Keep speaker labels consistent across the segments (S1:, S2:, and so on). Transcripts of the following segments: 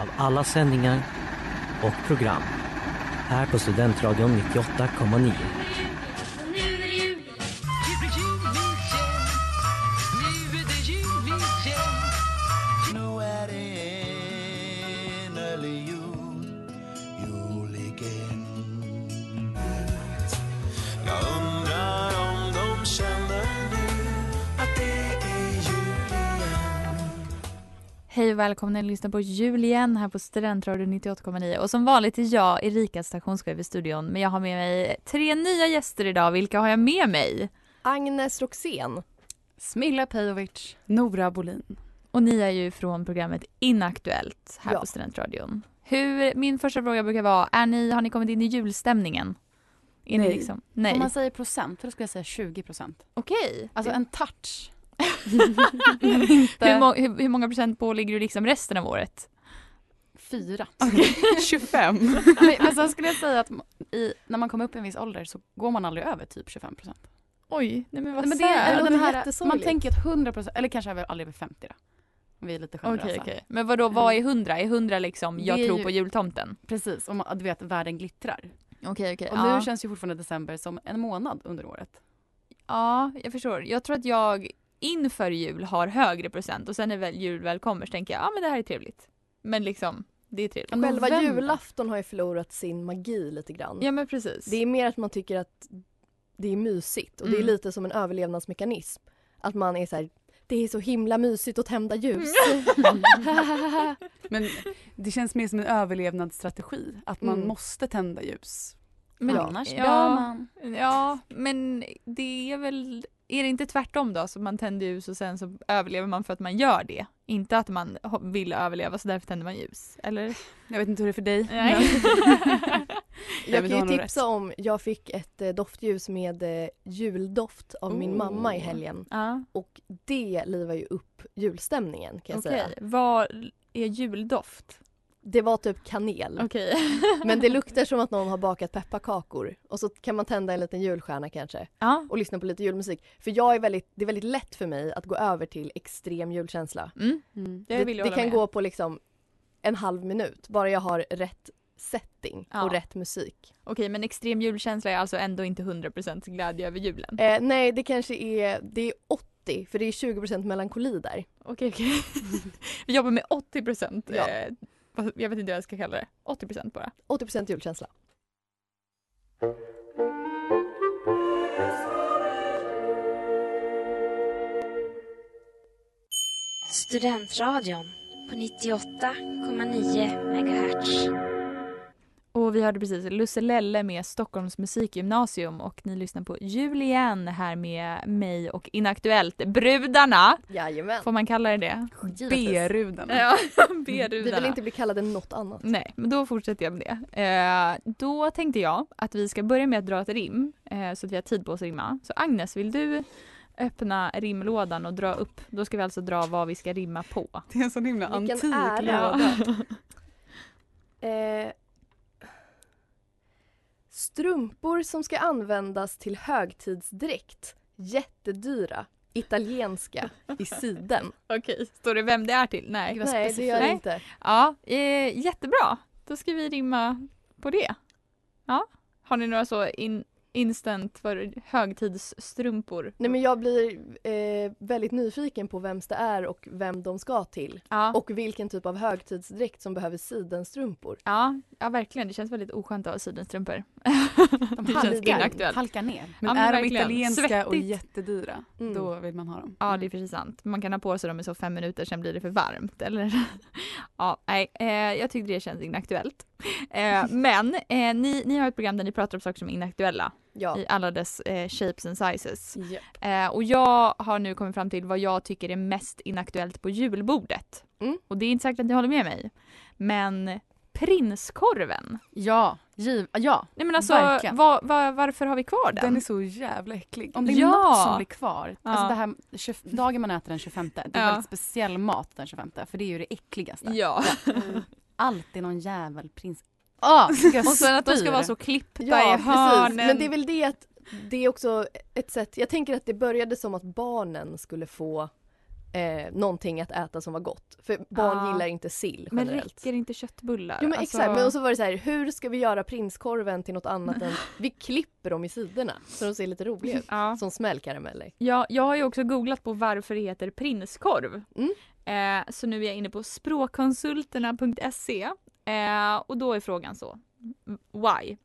S1: av alla sändningar och program här på Studentradion 98,9.
S2: Nu är det enlig jul, jul igen Jag undrar om de känner nu att det är jul igen
S3: Hej och välkomna att lyssna på jul igen här på Studentradion 98,9 och som vanligt är jag Erika stationschef i studion men jag har med mig tre nya gäster idag. Vilka har jag med mig?
S4: Agnes Roxén.
S5: Smilla Pejovic.
S6: Nora Bolin.
S3: Och ni är ju från programmet Inaktuellt här
S4: Ja.
S3: på Studentradion. Hur, min första fråga brukar vara, är ni, har ni kommit in i julstämningen? Är
S6: Nej.
S3: Ni liksom, nej.
S5: Om man säger procent, då skulle jag säga 20 procent.
S3: Okej.
S5: Alltså en touch.
S3: hur, må, hur, hur många procent på ligger du liksom resten av året?
S5: Fyra.
S6: 25.
S5: Men, men sen skulle jag säga att i, när man kommer upp i en viss ålder så går man aldrig över typ 25 procent.
S3: Oj, nej men vad
S5: Men det
S3: sad.
S5: är
S4: låter
S5: den här, man
S4: jättesorgligt.
S5: tänker att 100 procent, eller kanske över, aldrig över 50 då. Om vi är lite
S3: Okej
S5: generösa.
S3: okej. Men vadå, vad är hundra? Är hundra liksom, jag
S5: Det är
S3: tror
S5: ju-
S3: på jultomten?
S5: Precis, och man, du vet världen glittrar.
S3: Okej okej.
S5: Och
S3: ja.
S5: nu känns ju fortfarande december som en månad under året.
S3: Ja, jag förstår. Jag tror att jag inför jul har högre procent och sen när väl jul väl kommer så tänker jag ja men det här är trevligt. Men liksom, det är trevligt.
S4: Själva
S5: November.
S4: julafton har ju förlorat sin magi lite grann.
S3: Ja men precis.
S4: Mm. Det är mer att man tycker att det är mysigt och det är
S3: Mm.
S4: lite som en överlevnadsmekanism. Att man är så här, det är så himla mysigt att tända ljus.
S3: Mm.
S6: Men det känns mer som en överlevnadsstrategi, att man
S4: Mm.
S6: måste tända ljus.
S3: men,
S5: Annars
S3: ja,
S5: dör man.
S3: Ja, men det är väl, är det inte tvärtom då? Så man tänder ljus och sen så överlever man för att man gör det. Inte att man ho- vill överleva så därför tänder man ljus. Eller?
S6: Jag vet inte hur det är för dig.
S3: Nej.
S6: Nej,
S4: Jag
S6: men
S4: kan
S6: du
S4: ju
S6: har nog
S4: tipsa
S6: rätt.
S4: om, jag fick ett eh, doftljus med eh, juldoft av min
S3: Oh.
S4: mamma i helgen.
S3: ja,
S4: Och det livar ju upp julstämningen kan jag
S3: okej.
S4: säga.
S3: Vad är juldoft?
S4: Det var typ kanel.
S3: Okej.
S4: Men det luktar som att någon har bakat pepparkakor. Och så kan man tända en liten julstjärna kanske.
S3: ja.
S4: och lyssna på lite julmusik. För jag är väldigt, det är väldigt lätt för mig att gå över till extrem julkänsla.
S3: Mm. Jag
S4: det
S3: vill ju
S4: det
S3: hålla
S4: kan
S3: med.
S4: gå på liksom en halv minut, bara jag har rätt setting
S3: Ja.
S4: och rätt musik.
S3: Okej, men extrem julkänsla är alltså ändå inte 100% glädje över julen?
S4: Eh, nej, det kanske är, det är 80 för det är 20 melankoli där.
S3: Okej, okej. Vi jobbar med 80%.
S4: Ja.
S3: Eh, vad- jag vet inte vad jag ska kalla det. 80% bara.
S4: 80 julkänsla.
S7: Studentradion på 98,9 MHz.
S3: Och vi hörde precis Lusse Lelle med Stockholms musikgymnasium och ni lyssnar på Jul igen här med mig och Inaktuellt Brudarna.
S4: Jajamän.
S3: Får man kalla det det?
S6: B-rudan.
S3: Ja,
S4: Vi vill
S3: Brudarna.
S4: inte bli kallade något annat.
S3: Nej, men då fortsätter jag med det. Eh, då tänkte jag att vi ska börja med att dra ett rim eh, så att vi har tid på oss att rimma. Så Agnes, vill du öppna rimlådan och dra upp? Då ska vi alltså dra vad vi ska rimma på.
S6: Det är en sån himla
S4: Vilken
S6: antik
S4: ära.
S6: låda.
S4: Eh, strumpor som ska användas till högtidsdräkt. Jättedyra. Italienska. I siden.
S3: Okej, står det vem det är till? Nej.
S4: Nej, det gör det
S3: Nej.
S4: inte.
S3: Ja, eh, jättebra. Då ska vi rimma på det. Ja. Har ni några så in, instant för högtidsstrumpor.
S4: Nej men jag blir eh, väldigt nyfiken på vems det är och vem de ska till.
S3: Ja.
S4: Och vilken typ av högtidsdräkt som behöver sidenstrumpor.
S3: Ja, ja, verkligen. Det känns väldigt oskönt att ha sidenstrumpor.
S8: De
S3: Det känns
S8: halkar,
S3: inaktuellt.
S8: halkar ner.
S3: Ja,
S5: Men
S3: men
S5: är de
S3: verkligen.
S5: italienska och
S3: Svettigt.
S5: jättedyra,
S4: Mm.
S5: då vill man ha dem.
S3: Ja, det är precis sant. Man kan ha på sig dem i så fem minuter, sen blir det för varmt. Eller? Ja, nej, eh, jag tyckte det känns inaktuellt. Eh, men eh, ni, ni har ett program där ni pratar om saker som är inaktuella
S4: Ja.
S3: i alla dess eh, shapes and sizes.
S4: Japp.
S3: Eh, och jag har nu kommit fram till vad jag tycker är mest inaktuellt på julbordet.
S4: Mm.
S3: Och det är inte säkert att ni håller med mig. Men prinskorven.
S5: Mm.
S8: Ja, giv, ja.
S3: Nej men alltså,
S8: Verkligen.
S3: va, va, varför har vi kvar den?
S5: Den är så jävla äcklig.
S8: Om det är
S3: Ja.
S8: något som blir kvar. Alltså
S3: Ja.
S8: det här, 20, dagen man äter den 25, det är
S3: Ja.
S8: väldigt speciell mat den 25, för det är ju det äckligaste.
S3: Ja,
S8: Alltid någon jävel prins... Ah, vilka
S3: och sen att de ska
S8: styr.
S3: vara så klippta
S4: Ja,
S3: i
S4: precis.
S3: hörnen.
S4: Men det är väl det att det är också ett sätt, jag tänker att det började som att barnen skulle få eh, någonting att äta som var gott. För barn
S3: Ja.
S4: gillar inte sill
S3: Men
S4: generellt.
S3: räcker inte köttbullar?
S4: Jo men
S3: Alltså-
S4: exakt, men och så var det så här, hur ska vi göra prinskorven till något annat än, vi klipper dem i sidorna så de ser lite roliga ut.
S3: Ja.
S4: Som smällkarameller.
S3: Ja, jag har ju också googlat på varför det heter prinskorv.
S4: Mm.
S3: Eh, så nu är jag inne på språkkonsulterna.se eh, och då är frågan så. Mm, Why?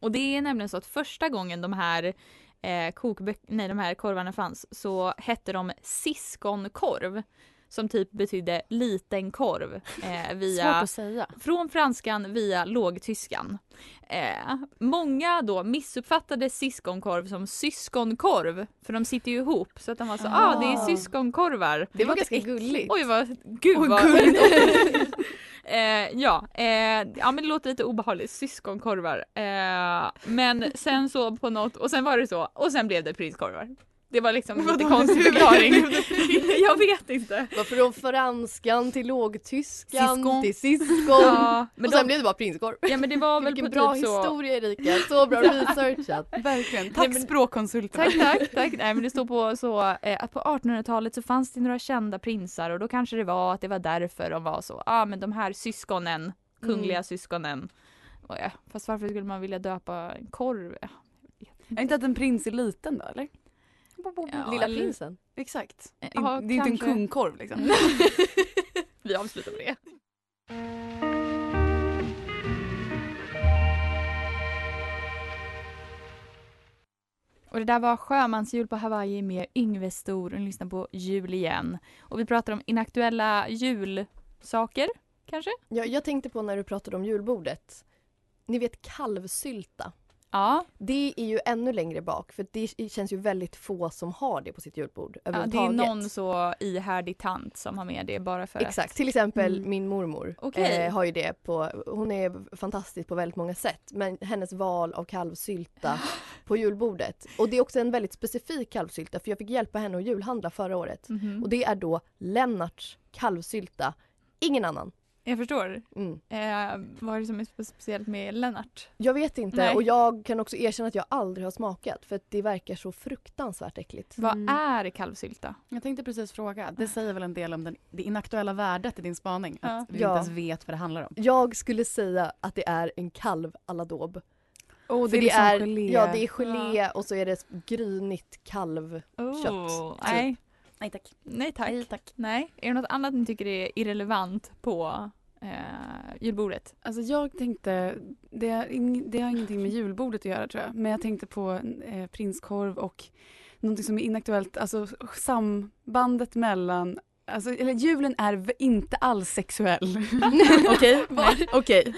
S3: Och det är nämligen så att första gången de här eh, kokbö- nej, de här korvarna fanns så hette de siskonkorv som typ betydde liten korv eh, via
S8: Svårt att säga.
S3: Från franskan via lågtyskan. Eh, många då missuppfattade syskonkorv som syskonkorv för de sitter ju ihop så att de var så ah det är syskonkorvar.
S4: Det var ganska gulligt.
S3: Oj vad, gud
S4: Oj,
S3: vad
S4: gulligt.
S3: Eh, ja, eh, ja men det låter lite obehagligt, syskonkorvar. Eh, men sen så på något, och sen var det så, och sen blev det prinskorvar. Det var liksom en lite konstig förklaring. Jag vet inte.
S4: Varför från franskan till lågtyskan
S8: Syskon.
S4: till syskon.
S3: Ja, men,
S4: och sen
S3: de,
S4: blev det bara prinskorv.
S3: ja, men det var väl
S4: Vilken
S3: på
S4: bra
S3: typ så
S4: historia Erika, så bra researchat.
S5: Verkligen. Tack språkkonsulterna.
S3: Tack, tack, tack. Nej, men det står på så eh, att på 1800-talet så fanns det några kända prinsar och då kanske det var att det var därför de var så. Ja, ah, men de här syskonen, kungliga
S5: Mm.
S3: syskonen. Och, ja, fast varför skulle man vilja döpa en korv? Ja,
S5: Är inte att en prins är liten då eller?
S4: Lilla
S3: eller-
S4: prinsen.
S5: Exakt. In,
S3: Ja,
S5: det är inte en
S3: kanske.
S5: kungkorv liksom.
S3: Mm. Vi avslutar med det. Och det där var Sjömansjul på Hawaii med Yngve Stor och ni lyssnar på jul igen. Och vi pratar om inaktuella julsaker, kanske?
S4: Jag, jag tänkte på när du pratade om julbordet. Ni vet kalvsylta.
S3: Ja,
S4: Det är ju ännu längre bak för det känns ju väldigt få som har det på sitt julbord
S3: ja
S4: överhuvudtaget.
S3: det är någon så ihärdig tant som har med det bara för att...
S4: Exakt, till exempel
S3: Mm.
S4: min mormor
S3: Okej.
S4: eh, har ju det på, hon är fantastisk på väldigt många sätt men hennes val av kalvsylta på julbordet och det är också en väldigt specifik kalvsylta för jag fick hjälpa henne att julhandla förra året
S3: Mhm.
S4: och det är då Lennarts kalvsylta, ingen annan.
S3: Jag förstår.
S4: Mm.
S3: Eh, vad är det som är spe- speciellt med Lennart?
S4: Jag vet inte
S3: Nej.
S4: och jag kan också erkänna att jag aldrig har smakat för att det verkar så fruktansvärt äckligt.
S3: Vad är kalvsylta?
S8: Jag tänkte precis fråga, det säger väl en del om den, det inaktuella värdet i din spaning? Att vi
S4: Ja.
S8: inte ens vet vad det handlar om.
S4: Jag skulle säga att det är en kalv à la daube.
S5: Oh,
S4: För
S8: liksom
S5: gelé.
S4: Ja, det är liksom gelé och så är det grynigt kalv. Kött, typ.
S3: Oh, Nej.
S8: Nej tack.
S3: Nej tack.
S8: Nej, tack.
S3: Nej. Är det något annat ni tycker är irrelevant på eh, julbordet?
S5: Alltså jag tänkte, det, har ing, det har ingenting med julbordet att göra tror jag, men jag tänkte på eh, prinskorv och någonting som är inaktuellt, alltså sambandet mellan Alltså, eller julen är v- inte alls sexuell. Okej? Okej.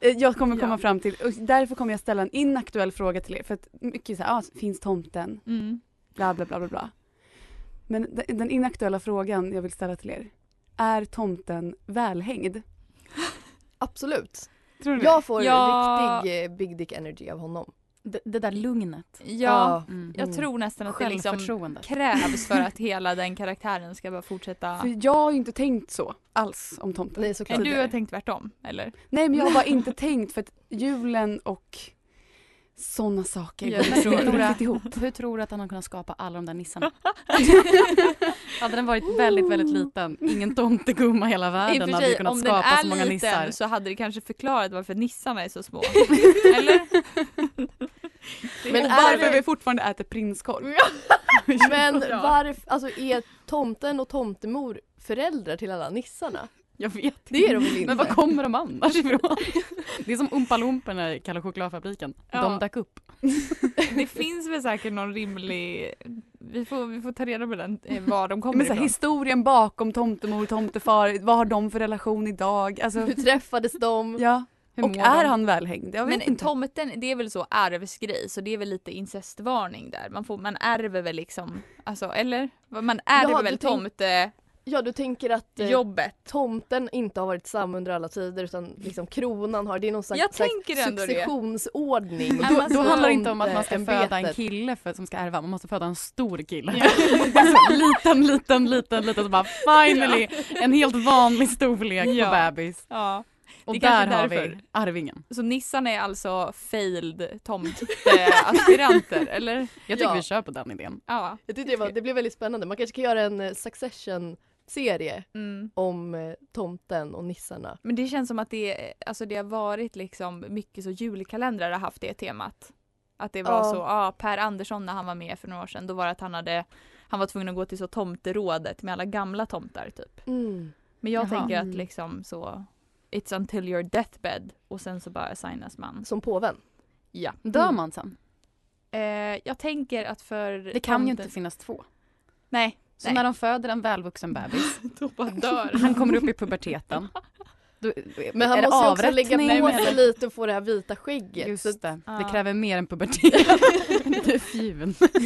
S5: Eh, Jag kommer komma
S3: Ja.
S5: fram till, och därför kommer jag ställa en inaktuell fråga till er. För att mycket så här, ah, finns tomten?
S3: Mm.
S5: Bla, bla, bla, bla, bla. Men de- den inaktuella frågan jag vill ställa till er. Är tomten välhängd?
S4: Absolut.
S5: Tror ni
S4: Jag får
S3: Ja.
S4: riktig eh, big dick energy av honom.
S8: Det, det där lugnet.
S3: Ja,
S8: Mm.
S3: jag
S4: Mm.
S3: tror nästan att det liksom
S8: Självförtroendet.
S3: krävs för att hela den karaktären ska bara fortsätta.
S5: För jag har ju inte tänkt så alls om tomten.
S4: Nej
S5: Nej,
S4: såklart.
S3: Nej, du har tänkt tvärtom, eller?
S5: men jag har bara inte tänkt för att julen och sådana saker
S3: Ja,
S5: går
S3: jag
S5: inte
S3: tror det.
S5: riktigt ihop.
S8: Hur tror du att han har kunnat skapa alla de där nissarna? hade den varit väldigt, väldigt liten, ingen tomtegumma i hela
S3: I och
S8: världen
S3: för
S8: hade ju
S3: sig,
S8: kunnat
S3: om den
S8: skapa
S3: är
S8: så många
S3: liten
S8: nissar.
S3: så hade det kanske förklarat varför nissarna är så små. eller?
S4: Men
S5: varför
S4: är det-
S5: vi fortfarande äter prinskorv.
S4: Men varför, alltså är tomten och tomtemor föräldrar till alla nissarna?
S8: Jag vet inte.
S4: Det är de väl inte?
S8: Men var kommer de annars ifrån? Det är som Oompa Loomporna i Kalle chokladfabriken.
S3: Ja.
S8: De dök upp.
S3: Det finns väl säkert någon rimlig... Vi får, vi får ta reda på den, eh, var de kommer
S5: Men så här,
S3: ifrån.
S5: historien bakom tomtemor och tomtefar, vad har de för relation idag? Alltså,
S4: Hur träffades de?
S5: ja.
S3: Hur
S5: Och
S3: mår
S5: är
S3: de?
S5: han välhängd? Jag vet
S8: eh,
S3: Men
S5: inte.
S3: tomten, det är väl så ärvsgrej, så det är väl lite incestvarning där. Man, får, man ärver väl liksom, alltså, eller? Man ärver
S4: Jaha, du
S3: väl
S4: tänk-
S3: tomtejobbet.
S4: Ja du tänker att eh, tomten inte har varit sam under alla tider utan liksom kronan har, det är någon slags,
S3: Jag
S4: slags
S3: tänker ändå det.
S4: successionsordning.
S3: Ja,
S8: Då,
S3: men
S8: då
S3: så-
S8: handlar det inte om eh, att man ska
S4: Tomteämbetet.
S8: föda en kille för, som ska ärva, man måste föda en stor kille. alltså, liten, liten, liten, liten. Så bara finally en helt vanlig storlek
S3: Ja.
S8: på bebis.
S3: Ja.
S8: Och
S3: Det
S8: där
S3: kanske är
S8: har vi
S3: därför.
S8: arvingen.
S3: Så Nissan är alltså failed tomteaspiranter, eller?
S8: Jag tycker
S4: Ja.
S8: vi kör på den idén.
S3: Ja.
S4: Jag tyckte det, var, det blev väldigt spännande, man kanske kan göra en eh, succession-serie
S3: Mm.
S4: om eh, tomten och nissarna.
S3: Men det känns som att det, alltså det har varit liksom mycket så julkalendrar har haft det temat. Att det var
S4: Ja.
S3: så, ja Per Andersson när han var med för några år sedan, då var det att han hade, han var tvungen att gå till så tomterådet med alla gamla tomtar typ.
S4: Mm.
S3: Men jag
S8: Jaha.
S3: tänker att
S5: Mm.
S3: liksom så, it's until your deathbed och sen så bara assignas man.
S4: Som påven.
S3: Ja.
S8: Dör man sen?
S3: Eh, jag tänker att för
S8: Det kan ju
S3: tomten-
S8: inte finnas två.
S3: Nej,
S8: Så
S3: Nej.
S8: när de föder en välvuxen bebis,
S3: då bara dör
S8: han kommer upp i puberteten. Då,
S4: Men
S8: är
S4: han
S8: det
S4: måste ju också lägga
S8: avrättning
S4: på
S8: eller-
S4: sig lite och få det här vita skägget. Så
S8: Just det,
S3: Ja.
S8: det kräver mer än pubertet. Du är fjun och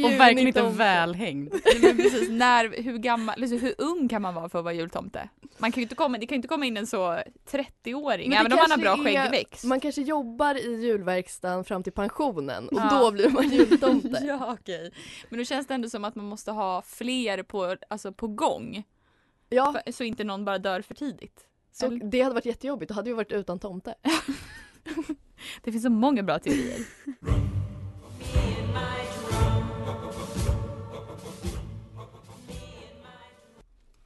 S4: ljuvlig
S8: verkligen inte
S4: tomte.
S8: välhängd.
S3: Nej, men precis, när, hur gammal, liksom, hur ung kan man vara för att vara jultomte? Man kan ju inte komma, det kan ju inte komma in en så 30-åring,
S4: Men det
S3: även om man har bra
S4: kanske är-
S3: skäggväxt.
S4: Man kanske jobbar i julverkstan fram till pensionen och
S3: Ja.
S4: då blir man jultomte.
S3: ja, okej. Men då känns det ändå som att man måste ha fler på, alltså, på gång,
S4: Ja,
S3: för, så inte någon bara dör för tidigt.
S4: så
S3: Eller?
S4: det hade varit jättejobbigt, då hade vi varit utan tomte.
S3: Det finns så många bra teorier.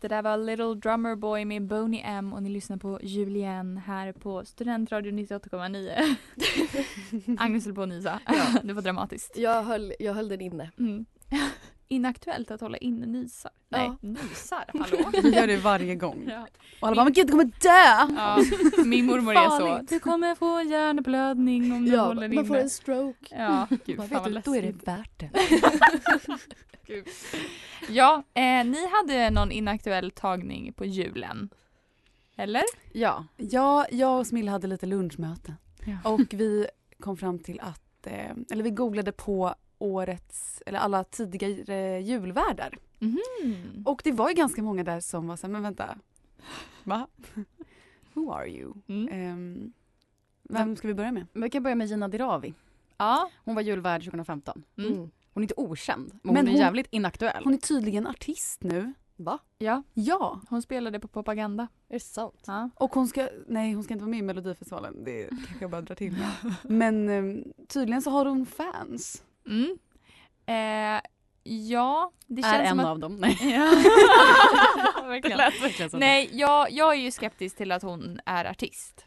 S3: Det där var Little Drummer Boy med Boney M och ni lyssnar på Julien här på Studentradion 98,9. Agnes höll på att nysa. Det var dramatiskt.
S4: Jag höll, jag höll den inne.
S3: Mm. Inaktuellt att hålla inne nysar.
S4: Ja.
S3: Nej, nysar, hallå.
S5: Vi gör det varje gång.
S3: Ja.
S5: Och alla bara, men gud du kommer dö!
S3: Ja, min mormor är så.
S5: Farligt.
S3: Du kommer få hjärnblödning om du
S4: Ja,
S3: håller
S4: man får
S3: inne.
S4: en stroke.
S3: Ja, gud,
S5: Man
S3: fan vad
S5: vet, då är det
S3: läskigt.
S5: värt det.
S3: Ja, eh, ni hade någon inaktuell tagning på julen. Eller?
S8: Ja,
S5: Ja, jag och Smilla hade lite lunchmöte.
S3: Ja.
S5: Och vi kom fram till att, eh, eller vi googlade på årets, eller alla tidigare julvärdar.
S3: Mhm.
S5: Och det var ju ganska många där som var såhär, men vänta. Va? Who are you?
S3: Mm.
S5: Ehm, vem ska vi börja med?
S8: men vi kan börja med Gina Dirawi.
S3: Ja.
S8: Hon var julvärd 2015.
S3: Mm.
S4: Mm.
S8: Hon är inte okänd, men,
S5: Men
S8: hon är
S5: hon-
S8: jävligt inaktuell.
S5: Hon är tydligen artist nu.
S4: Va?
S3: ja,
S5: Ja,
S3: hon spelade på propaganda.
S4: Är det sant?
S3: Ja.
S5: och hon ska, nej hon ska inte vara med i Melodifestivalen. Det kanske jag bara drar till med. Men ehm, tydligen så har hon fans.
S3: Mm. Eh, ja, det
S8: är
S3: känns
S8: en
S3: som att...
S8: av dem. Nej.
S3: Ja.
S8: Det
S3: Verkligen.
S8: lät verkligen som det.
S3: Nej, jag, jag är ju skeptisk till att hon är artist.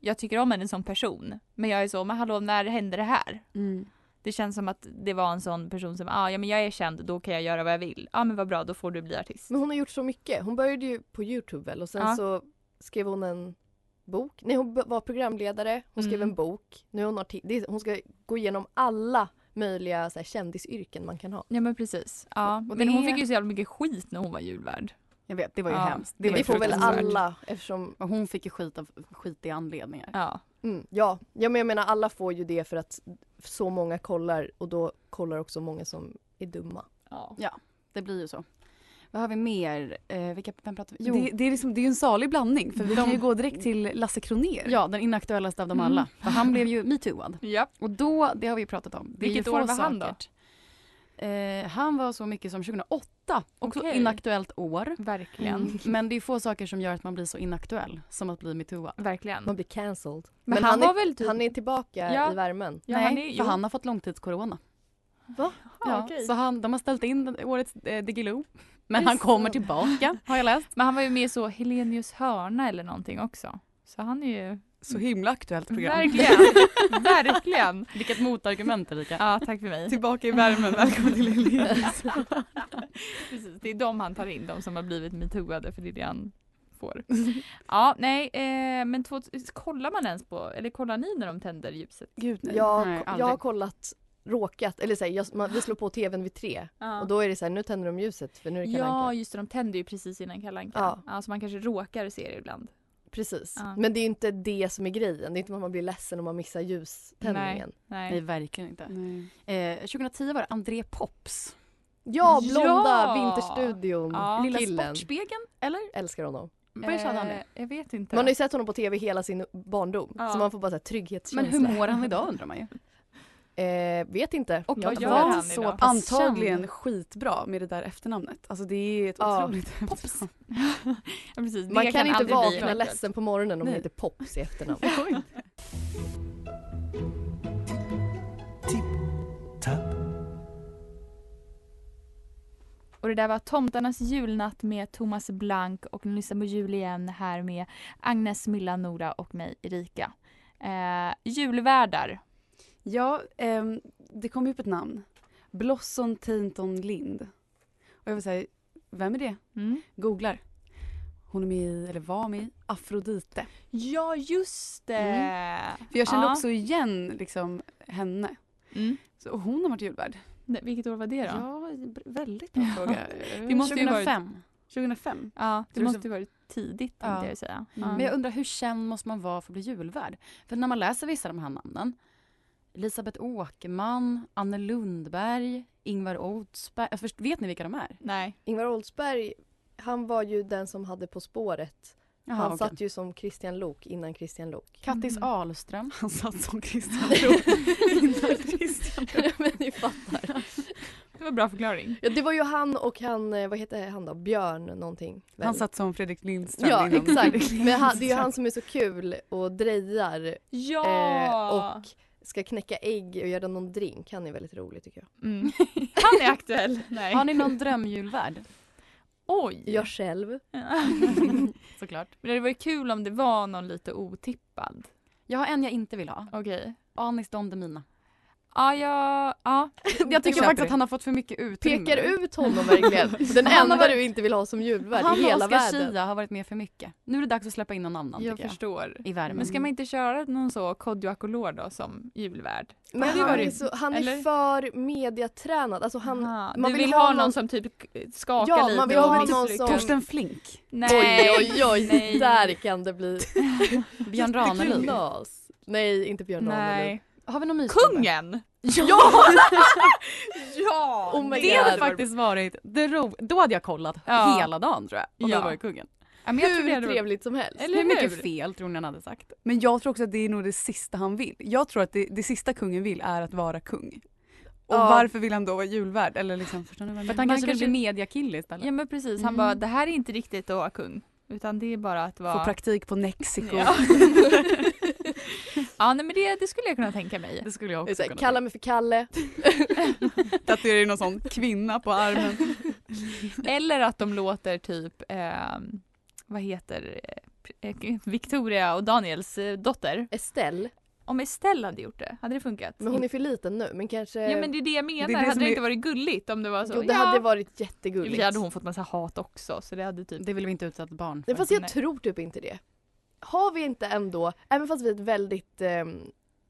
S3: Jag tycker om henne som person, men jag är så, men hallå, när hände det här?
S8: Mm.
S3: Det känns som att det var en sån person som, ah, ja men jag är känd, då kan jag göra vad jag vill. Ja ah, men vad bra, då får du bli artist.
S4: Men hon har gjort så mycket. Hon började ju på Youtube väl och sen
S3: Ja.
S4: så skrev hon en bok. Nej hon b- var programledare, hon skrev
S3: Mm.
S4: en bok. Nu är hon artist. Det är- Hon ska gå igenom alla möjliga så här, kändisyrken man kan ha.
S3: Ja men precis. Ja.
S4: Och
S3: men
S4: det
S3: hon
S4: är-
S3: fick ju så jävla mycket skit när hon var julvärd.
S8: Jag vet, det var ju
S3: Ja.
S8: hemskt.
S3: Det
S4: Det,
S8: var ju
S4: får väl
S8: fruktansvärt.
S4: alla eftersom,
S8: Och Hon fick ju skit av skitiga anledningar.
S3: Ja.
S4: mm, ja. ja men jag menar alla får ju det för att så många kollar och då kollar också många som är dumma.
S3: ja.
S8: Det blir ju så. Vad har vi mer? Eh, vilka, vem pratar vi? Jo,
S5: Det, det, är liksom, det är ju en salig blandning för vi kan ju gå direkt till Lasse Kronér.
S8: ja, den inaktuellaste av dem alla. För han blev ju metooad.
S3: Mm. Ja.
S8: Och då, det har vi ju pratat om. Det är
S3: Vilket
S8: ju
S3: år
S8: få
S3: var han då?
S8: saker. Eh, han var så mycket som 2008. Också
S3: Okej. Mm.
S8: inaktuellt år.
S3: Verkligen.
S5: Mm.
S8: Men det är få saker som gör att man blir så inaktuell som att bli metooad.
S3: Verkligen.
S4: Man blir cancelled.
S3: Mm. Men,
S4: Men
S3: han,
S4: han
S3: var väl typ...
S4: Han är tillbaka
S3: Ja.
S4: i värmen.
S3: ja,
S8: Nej,
S3: han är,
S8: för
S3: jo.
S8: han har fått långtidscorona.
S4: Va?
S8: Ja,
S3: okej.
S8: Så han, de har ställt in den- årets eh, Diggiloo. Men
S4: Det är
S8: han kommer
S4: så.
S8: tillbaka, har jag läst.
S3: Men han var ju med i så Helenius hörna eller någonting också. Så han är ju
S5: så himla aktuellt program.
S3: Verkligen. Verkligen.
S8: Vilket motargument Erika.
S3: Ja, tack för mig.
S5: Tillbaka i värmen, välkommen till Elenius.
S3: Precis, det är de han tar in, de som har blivit metooade för det är det han får. Ja, nej, eh, men två, kollar man ens på, eller kollar ni när de tänder ljuset?
S5: Gud nej.
S4: Jag,
S8: Nej, aldrig.
S4: jag har kollat, råkat, eller så här, jag, man, vi slår på tvn vid tre och då är det så här, nu tänder de ljuset för nu är det Kalle
S3: Ja,
S4: Anka.
S3: just det, de tänder ju precis innan Kalle Anka.
S4: Ja.
S3: Ja, så man kanske råkar se det ibland.
S4: Precis.
S3: Ja.
S4: Men det är inte det som är grejen, det är inte att man blir ledsen om man missar ljuständningen.
S3: Nej.
S9: Nej, verkligen inte.
S5: Nej.
S9: Eh, 2010 var det André Pops.
S4: Ja, blonda
S3: Ja!
S4: Vinterstudion
S3: Ja.
S9: Lilla
S4: killen.
S9: Sportspegeln, eller?
S4: Älskar honom.
S9: Vad sa han nu?
S3: Eh, Jag vet inte.
S4: Man har ju sett honom på tv hela sin barndom
S3: Ja.
S4: så man får bara så här,
S9: Men
S4: trygghetskänsla.
S9: hur mår han idag undrar man ju.
S4: Eh, vet inte.
S3: Och
S4: Jag har
S3: vad
S4: inte
S3: gör
S4: kollat.
S3: han
S9: så
S3: idag?
S9: pass
S5: Antagligen skitbra med det där efternamnet. Alltså det är ett
S4: Ja.
S5: otroligt
S9: Pops.
S5: efternamn.
S3: Ja, precis, det
S4: Man kan inte
S3: aldrig bli
S4: vakna
S3: en-
S4: ledsen på morgonen om det
S5: Nej.
S4: heter Pops i efternamn.
S3: Och det där var Tomtarnas julnatt med Thomas Blank och ni lyssnar på jul igen här med Agnes, Milla, Nora och mig Erika. Eh, julvärdar.
S5: Ja, ehm, det kom ju upp ett namn. Blossom Tainton Lind. Och jag vill säga, vem är det?
S3: Mm.
S5: Googlar. Hon är med i, eller var med i, Afrodite.
S3: Ja, just det!
S5: För jag kände
S3: Mm. Ja.
S5: också igen liksom henne.
S3: Mm.
S5: Så, och hon har varit julvärd.
S3: Nej, Vilket år var det då? Ja,
S5: Ja, väldigt bra fråga.
S3: Det måste ju
S9: 2005.
S5: 2005.
S3: det
S5: Tror
S3: måste
S5: så-
S3: ju varit tidigt
S9: Ja.
S3: tänkte jag säga. Ja.
S9: Men jag undrar hur känd måste man vara för att bli julvärd? För när man läser vissa av de här namnen, Elisabeth Åkerman, Anne Lundberg, Ingvar Oldsberg. Alltså, först- vet ni vilka de är?
S3: Nej.
S4: Ingvar Oldsberg, han var ju den som hade På spåret.
S9: Jaha,
S4: han
S9: okej.
S4: satt ju som Christian Lok innan Christian Lok.
S9: Kattis
S3: Mm.
S9: Ahlström.
S5: Han satt som Christian Lok. Innan Christian Lok.
S4: Men ni fattar.
S3: Det var bra förklaring.
S4: Ja, det var ju han och han, eh, vad heter han då, Björn någonting. väl?
S5: Han satt som Fredrik Lindström.
S4: Ja
S5: innan Fredrik
S4: exakt, men han, det är ju
S5: Lindström.
S4: han som är så kul och drejar
S3: Ja!
S4: eh, och ska knäcka ägg och göra någon drink. Han är väldigt rolig tycker jag.
S3: Mm. Han är aktuell. Nej.
S9: Har ni någon drömjulvärd?
S3: Oj!
S4: Jag själv.
S9: Såklart.
S3: Men det var ju kul om det var någon lite otippad.
S9: Jag har en jag inte vill ha.
S3: Okej.
S9: Anis Don Demina.
S3: Ja, jag... Ja.
S9: Jag tycker
S5: köper
S9: faktiskt
S5: det.
S9: att han har fått för mycket utrymme.
S4: Pekar ut honom verkligen. Den
S9: Han har
S4: enda
S9: varit-
S4: du inte vill ha som julvärd
S9: Han
S4: i
S9: och
S4: hela
S9: Oscar
S4: världen.
S9: Schia har varit med för mycket. Nu är det dags att släppa in någon annan
S3: Jag
S9: tycker jag.
S3: förstår.
S9: I värmen.
S3: Men ska man inte köra någon så Kodjo Akolor då som julvärd?
S4: Men
S3: Ja, det var
S4: han,
S3: det.
S4: är så, han är
S3: Eller?
S4: för mediatränad. Alltså han,
S3: Aha,
S4: man
S3: du vill, ha någon, som typ skakar
S4: Ja,
S3: lite?
S4: man vill ha
S3: och
S4: någon som-
S3: misslyckas?
S5: Torsten Flink.
S3: Nej.
S4: Oj, oj, oj,
S3: Nej.
S4: där kan det bli
S9: Björn Ranelid.
S4: knas. Nej, inte Björn Ranelid.
S3: Nej.
S9: Har vi någon mysgubbe?
S3: Kungen!
S4: Ja!
S3: Ja!
S4: Oh my
S9: Det
S4: God.
S9: hade faktiskt varit det ro... Då hade jag kollat
S3: Ja.
S9: hela dagen tror jag. Och
S3: Ja.
S9: då var det kungen.
S3: Ja, men jag tror det
S4: Hur
S3: hade varit...
S4: trevligt som helst.
S3: Eller
S9: Hur mycket
S3: hur?
S9: fel tror ni han hade sagt?
S5: Men jag tror också att det är nog det sista han vill. Jag tror att det, det sista kungen vill är att vara kung. Och
S4: Ja.
S5: varför vill han då vara julvärd? Eller liksom, förstår ni vad jag
S9: För att
S5: menar?
S9: han
S3: Man
S9: kanske,
S3: kanske-
S9: vill bli mediakille istället.
S3: Ja men precis, han
S9: Mm.
S3: bara det här är inte riktigt att vara kung. Utan det är bara att vara...
S5: Få praktik på Mexiko.
S3: Ja. ja nej, men det, det skulle jag kunna tänka mig.
S9: Det skulle jag
S4: Det är
S9: också
S4: så här,
S9: kunna
S4: Kalla mig för Kalle.
S5: Tatuerar in någon sån kvinna på armen.
S3: Eller att de låter typ, ehm, vad heter eh, eh, Victoria och Daniels eh, dotter.
S4: Estelle,
S3: Om Estelle hade gjort det, hade det funkat?
S4: men hon är för liten nu men kanske...
S3: Ja men det är det jag menar,
S5: det
S3: hade
S5: som
S3: det
S5: är-
S3: inte varit gulligt om det var så?
S4: jo, det
S3: ja.
S4: hade varit
S3: I och för
S4: jättegulligt.
S3: sig hade hon fått massa hat också så det hade typ
S9: Det vill vi inte utsätta barn
S4: Nej,
S9: för.
S4: fast jag
S3: Nej.
S4: tror typ inte det. Har vi inte ändå, även fast vi är ett väldigt ehm,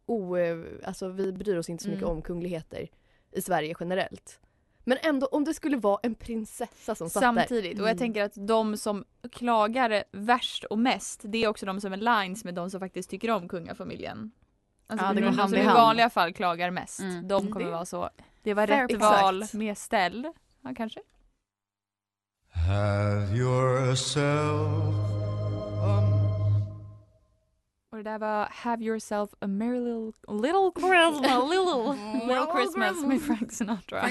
S4: o, alltså vi bryr oss inte så mycket
S3: Mm.
S4: om kungligheter i Sverige generellt. Men ändå om det skulle vara en prinsessa som satt där.
S3: Samtidigt, och jag
S4: Mm.
S3: tänker att de som klagar värst och mest det är också de som är lines med de som faktiskt tycker om kungafamiljen. Alltså,
S9: Ja, det
S3: de
S9: går
S3: de
S9: hand
S3: som
S9: i
S3: i
S9: hand.
S3: vanliga fall klagar mest,
S9: Mm.
S3: de kommer
S5: Det-
S3: vara så.
S5: Det var
S3: Rätt val med ställ, ja kanske.
S2: Have yourself
S3: Och det där var Have yourself a merry little, little Christmas, little, little Christmas med Frank Sinatra.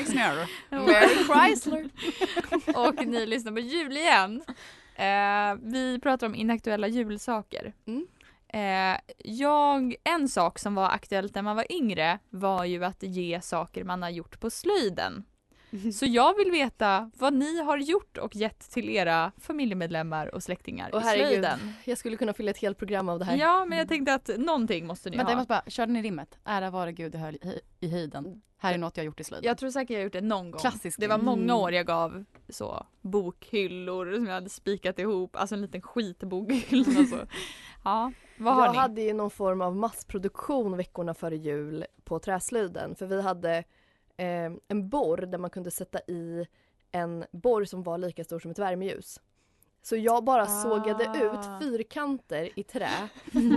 S3: Merry Chrysler. Oh, Och ni lyssnar på jul igen. Eh, vi pratar om inaktuella julsaker.
S4: Mm.
S3: Eh, jag, en sak som var aktuellt när man var yngre var ju att ge saker man har gjort på slöjden. Så jag vill veta vad ni har gjort och gett till era familjemedlemmar och släktingar
S4: Och
S3: i
S4: herregud,
S3: slöjden.
S4: jag skulle kunna fylla ett helt program av det här. Mm.
S3: Ja, men jag tänkte att någonting måste ni
S9: Vänta,
S3: ha.
S9: jag måste bara, körde ni rimmet? Ära vare Gud i hö- i- i höjden. Här är något jag gjort i slöjden.
S3: Jag tror säkert jag gjort det någon gång.
S9: Klassisk
S3: Det var
S9: grej.
S4: Mm.
S3: många år jag gav så bokhyllor som jag hade spikat ihop, alltså en liten skitbokhylla. Alltså. Ja, vad har
S4: jag
S3: ni?
S4: hade ju någon form av massproduktion veckorna före jul på träslöjden för vi hade eh, en borr där man kunde sätta i en borr som var lika stor som ett värmeljus. Så jag bara sågade
S3: Ah.
S4: ut fyrkanter i trä,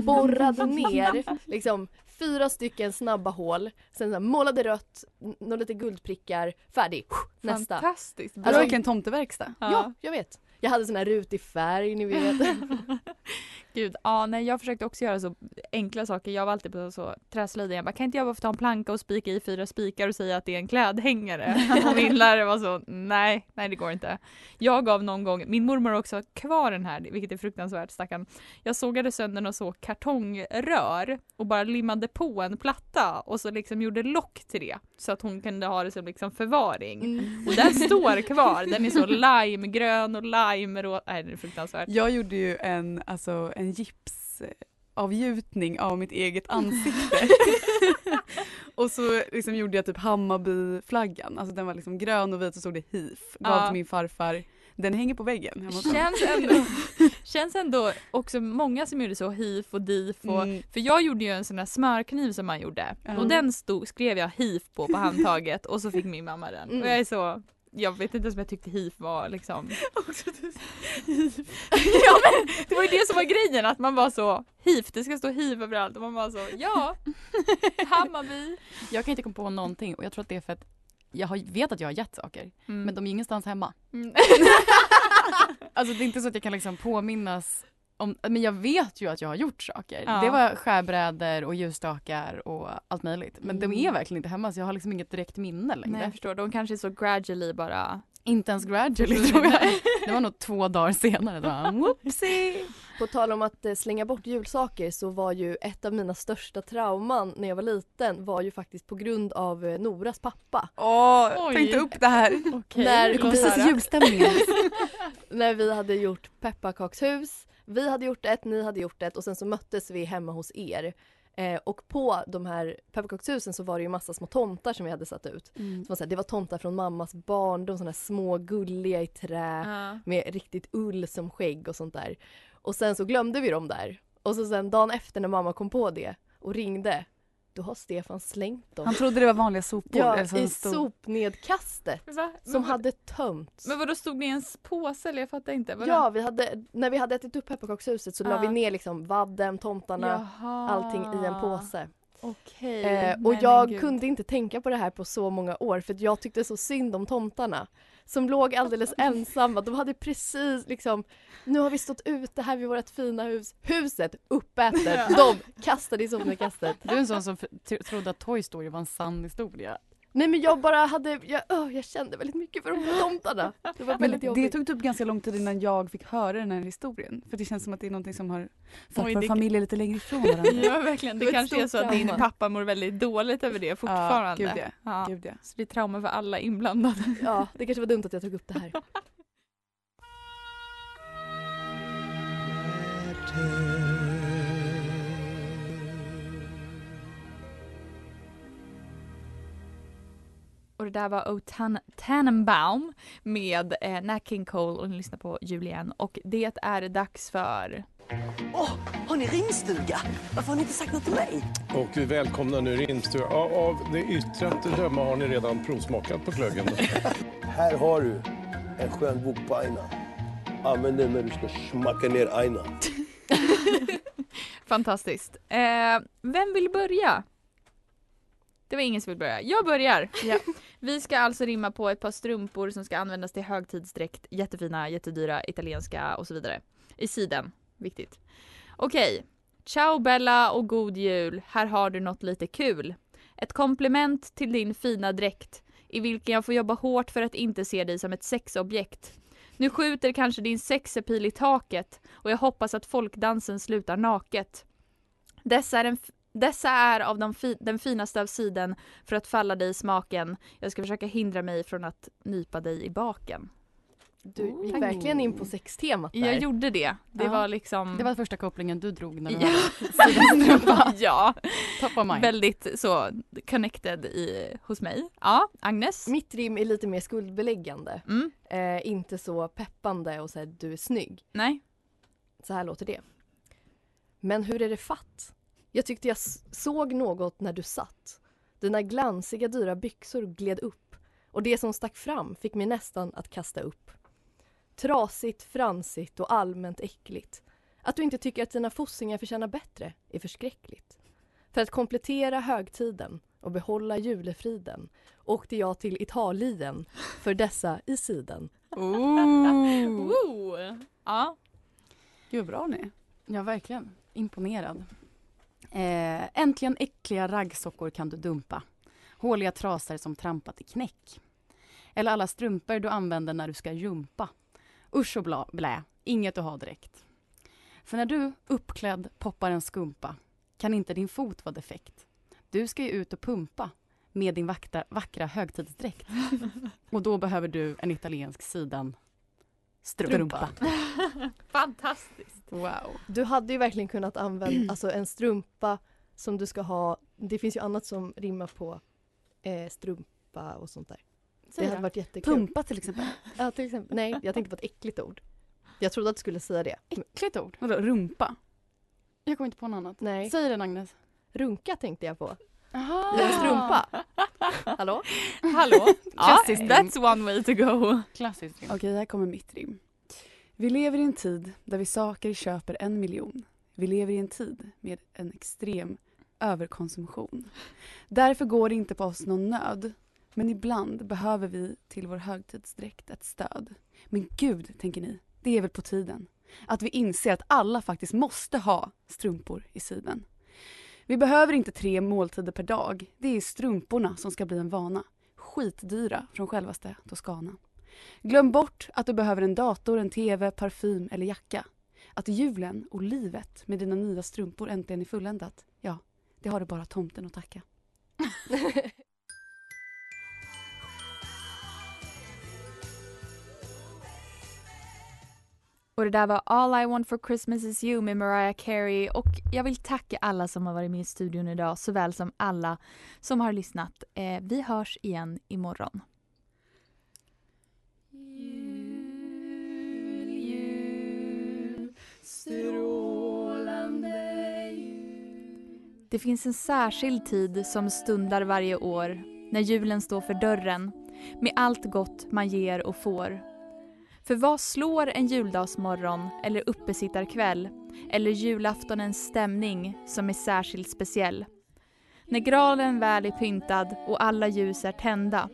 S4: borrade ner liksom fyra stycken snabba hål, sen så här, målade rött, n- några lite guldprickar, färdig, nästa. Alltså,
S3: Fantastiskt
S5: Det
S3: bra.
S5: var verkligen tomteverkstad.
S4: Ja, jag vet. Jag hade sån här rutig färg, ni vet.
S3: Gud, ja, nej, jag försökte också göra så enkla saker. Jag var alltid på så träslöjden. Jag bara, kan inte jag bara få ta en planka och spika i fyra spikar och säga att det är en klädhängare? Och min lärare var så, nej, nej det går inte. Jag gav någon gång, min mormor har också kvar den här, vilket är fruktansvärt stackarn. Jag sågade sönder något så kartongrör och bara limmade på en platta och så liksom gjorde lock till det så att hon kunde ha det som liksom förvaring.
S4: Mm.
S3: Och den står kvar, den är så limegrön och limerå, nej det är fruktansvärt.
S5: Jag gjorde ju en, alltså, en gipsavgjutning av mitt eget ansikte. och så liksom gjorde jag typ Hammarbyflaggan, alltså den var liksom grön och vit och så stod det HIF. Gav
S3: Ja.
S5: till min farfar. Den hänger på väggen hemma hos honom.
S3: Känns ändå, känns ändå också många som gjorde så, hif och dif och,
S5: Mm.
S3: för jag gjorde ju en sån där smörkniv som man gjorde
S5: Ja.
S3: och den stod, skrev jag hif på på handtaget och så fick min mamma den
S4: Mm.
S3: och jag är så jag vet inte ens om jag tyckte hif var liksom... ja, men det var ju det som var grejen, att man var så hif, det ska stå hif överallt och man var så ja, Hammarby.
S9: Jag kan inte komma på någonting och jag tror att det är för att jag har, vet att jag har gett saker,
S3: Mm.
S9: men de är ingenstans hemma.
S3: Mm.
S9: Alltså det är inte så att jag kan liksom påminnas om, men jag vet ju att jag har gjort saker.
S3: Ja.
S9: Det var skärbrädor och ljusstakar och allt möjligt. Men
S5: Mm.
S9: de är verkligen inte hemma så jag har liksom inget direkt minne längre.
S3: Nej, jag förstår, de kanske är så gradually bara...
S9: Inte ens gradually tror jag. Det var nog två dagar senare. Då. var jag, Whoopsie!
S4: På tal om att eh, slänga bort julsaker så var ju ett av mina största trauman när jag var liten var ju faktiskt på grund av eh, Noras pappa.
S5: Åh,
S3: Oj.
S5: tänkte upp det här.
S3: Okej,
S4: När
S3: låt
S4: kom precis
S3: höra.
S9: julstämningen.
S4: När vi hade gjort pepparkakshus. Vi hade gjort ett, ni hade gjort ett och sen så möttes vi hemma hos er. Eh, och på de här pepparkakshusen så var det ju massa små tomtar som vi hade satt ut. Som var så här, det var tomtar från mammas barndom, sådana här små gulliga i trä.
S3: Ja.
S4: med riktigt ull som skägg och sånt där. Och sen så glömde vi dem där. Och så sen dagen efter när mamma kom på det och ringde, då har Stefan slängt dem.
S5: Han trodde det var vanliga sopor.
S4: Ja,
S5: alltså en
S4: i
S5: stor-
S4: sopnedkastet
S3: Va? Men
S4: som
S3: vad-
S4: hade tömts.
S3: Men vadå, stod det i en påse eller jag fattar inte? Vadå?
S4: Ja, vi hade, när vi hade ätit upp pepparkakshuset så la
S3: Ah.
S4: vi ner liksom vadden, tomtarna,
S3: Jaha.
S4: allting i en påse.
S3: Okej.
S4: Eh,
S3: Nej,
S4: och
S3: men
S4: jag
S3: gud.
S4: kunde inte tänka på det här på så många år för att jag tyckte så synd om tomtarna som låg alldeles ensamma. De hade precis liksom, nu har vi stått ute här vid vårt fina hus. Huset uppätet, de kastade i sopnedkastet.
S9: Du är en sån som f- t- trodde att Toy Story var en sann historia.
S4: Nej men jag bara hade, jag, öh, jag kände väldigt mycket för de här tomtarna. Det var
S5: Men
S4: väldigt
S5: det
S4: jobbigt.
S5: tog typ ganska lång tid innan jag fick höra den här historien. För det känns som att det är någonting som har fått
S3: Oj,
S5: vår
S3: det-
S5: familj lite längre ifrån varandra.
S3: Ja verkligen, det,
S4: Det var ett
S3: kanske är så
S4: stort
S3: att din
S4: trauma.
S3: pappa mår väldigt dåligt över det fortfarande.
S5: Ja, gud ja.
S3: Ja.
S5: Gud, ja.
S3: Så det är trauma för alla inblandade.
S4: Ja, det kanske var dumt att jag tog upp det här.
S3: Och det där var O Tan- Tannenbaum med eh, Nat King Cole och ni lyssnar på Julian och det är dags för
S2: Har ni ringstuga? Varför har ni inte sagt något till mig?
S10: Och vi välkomnar nu Rimstur. Av, av det yttre att döma har ni redan provsmakat på glöggen.
S11: Här har du en skön bok på aina. Använd den när du ska smacka ner aina.
S3: Fantastiskt. Eh, vem vill börja? Det var ingen som vill börja. Jag börjar. Vi ska alltså rimma på ett par strumpor som ska användas till högtidsdräkt. Jättefina, jättedyra, italienska och så vidare. I siden. Viktigt. Okej. Ciao Bella och god jul. Här har du något lite kul. Ett komplement till din fina dräkt i vilken jag får jobba hårt för att inte se dig som ett sexobjekt. Nu skjuter kanske din sexepil i taket och jag hoppas att folkdansen slutar naket. Dessa är en, f- Dessa är av de fi- den finaste av siden för att falla dig i smaken. Jag ska försöka hindra mig från att nypa dig i baken.
S4: Du gick verkligen in på sextemat där.
S3: Jag gjorde det. Det
S4: Ja.
S3: var liksom...
S9: Det var första kopplingen du drog när du
S3: Ja.
S9: hörde sidenstrumpa.
S3: ja.
S9: Top
S3: Oh
S9: of mind.
S3: Väldigt så connected i, hos mig. Ja, Agnes?
S4: Mitt rim är lite mer skuldbeläggande.
S3: Mm.
S4: Eh, inte så peppande och så här, du är snygg.
S3: Nej.
S4: Så här låter det. Men hur är det fatt? Jag tyckte jag s- såg något när du satt. Dina glansiga dyra byxor gled upp och det som stack fram fick mig nästan att kasta upp. Trasigt, fransigt och allmänt äckligt. Att du inte tycker att dina fossingar förtjänar bättre är förskräckligt. För att komplettera högtiden och behålla julefriden åkte jag till Italien för dessa i siden.
S3: Woo. Ja.
S9: Gud bra ni Ja verkligen, imponerad. Eh, äntligen äckliga raggsockor kan du dumpa. Håliga trasor som trampat i knäck. Eller alla strumpor du använder när du ska jumpa. Usch och bla, blä, inget att ha direkt. För när du uppklädd poppar en skumpa kan inte din fot vara defekt. Du ska ju ut och pumpa med din vakta, vackra högtidsdräkt. och då behöver du en italiensk sidan strumpa.
S3: Fantastiskt.
S9: Wow.
S4: Du hade ju verkligen kunnat
S9: Mm.
S4: använda alltså en strumpa som du ska ha. Det finns ju annat som rimmar på eh, strumpa och sånt där.
S9: Säg
S4: det hade
S9: då.
S4: varit jättekul.
S9: Pumpa till exempel.
S4: Ja, till exempel. Nej, jag tänkte på ett äckligt ord. Jag trodde att du skulle säga det.
S9: Äckligt ord?
S5: Vadå, rumpa?
S9: Jag kommer inte på något annat.
S4: Nej.
S9: Säg den Agnes.
S4: Runka tänkte jag på.
S9: Aha.
S4: I en strumpa. Hallå?
S3: Hallå?
S5: Klassiskt rim.
S3: that's one way to go.
S9: Klassiskt rim.
S5: Okej, här kommer mitt rim. Vi lever i en tid där vi saker köper en miljon. Vi lever i en tid med en extrem överkonsumtion. Därför går det inte på oss någon nöd. Men ibland behöver vi till vår högtidsdräkt ett stöd. Men gud, tänker ni, det är väl på tiden. Att vi inser att alla faktiskt måste ha strumpor i sidan. Vi behöver inte tre måltider per dag. Det är strumporna som ska bli en vana. Skitdyra från självaste Toscana. Glöm bort att du behöver en dator, en tv, parfym eller jacka. Att julen och livet med dina nya strumpor äntligen är fulländat, ja, det har du bara tomten att tacka.
S3: Och det där var All I want for Christmas is you med Mariah Carey och jag vill tacka alla som har varit med i studion idag såväl som alla som har lyssnat. Eh, vi hörs igen imorgon. Det finns en särskild tid som stundar varje år när julen står för dörren med allt gott man ger och får. För vad slår en juldagsmorgon eller uppesittarkväll eller julaftonens stämning som är särskilt speciell? När granen väl är pyntad och alla ljus är tända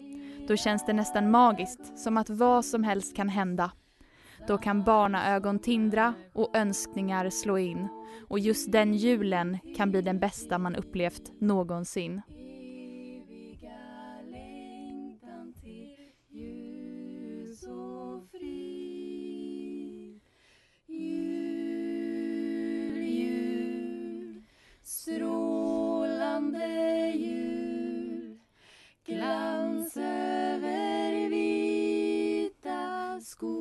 S3: då känns det nästan magiskt, som att vad som helst kan hända. Då kan barnaögon tindra och önskningar slå in och just den julen kan bli den bästa man upplevt någonsin.
S2: Strålande jul Glans över vita skogar